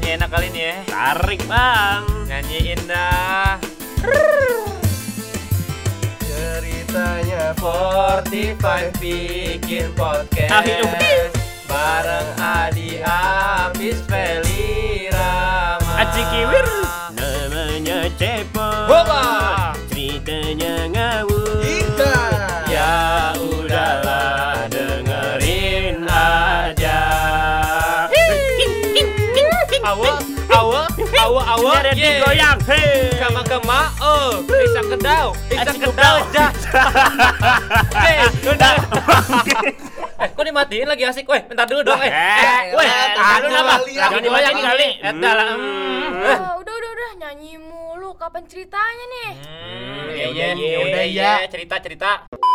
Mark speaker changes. Speaker 1: ini enak kali ini ya.
Speaker 2: Tarik bang.
Speaker 1: Nyanyiin dah.
Speaker 3: Ceritanya
Speaker 1: 45 bikin podcast.
Speaker 2: Ayo.
Speaker 1: Bareng Adi Abis Feli Rama.
Speaker 2: Aji Kiwir. Namanya Cepot.
Speaker 1: Boba.
Speaker 2: Ceritanya ngawur.
Speaker 3: Ika
Speaker 1: Ya udahlah dengerin aja. Awa, awa, awa, awa,
Speaker 2: Biar
Speaker 1: ye.
Speaker 2: digoyang. Hei.
Speaker 1: Kama kama, oh, bisa kedau, bisa
Speaker 2: Aji
Speaker 1: kedau,
Speaker 2: kedau.
Speaker 1: jah. Eh, udah. Eh, kok dimatiin lagi asik? Weh, bentar dulu dong, eh.
Speaker 2: Eh,
Speaker 1: Weh,
Speaker 3: eh,
Speaker 1: tahan dulu
Speaker 3: jangan
Speaker 1: apa?
Speaker 3: dimatiin,
Speaker 1: Jangan dimatiin
Speaker 2: jangan
Speaker 1: kali.
Speaker 2: dimatiin.
Speaker 1: Eh, dah lah.
Speaker 2: Hmm.
Speaker 1: Eh.
Speaker 4: Ah, udah udah udah nyanyi mulu kapan ceritanya nih
Speaker 1: Hmm,
Speaker 2: iya,
Speaker 1: iya,
Speaker 2: iya,
Speaker 1: iya,
Speaker 2: udah,
Speaker 1: iya, cerita cerita.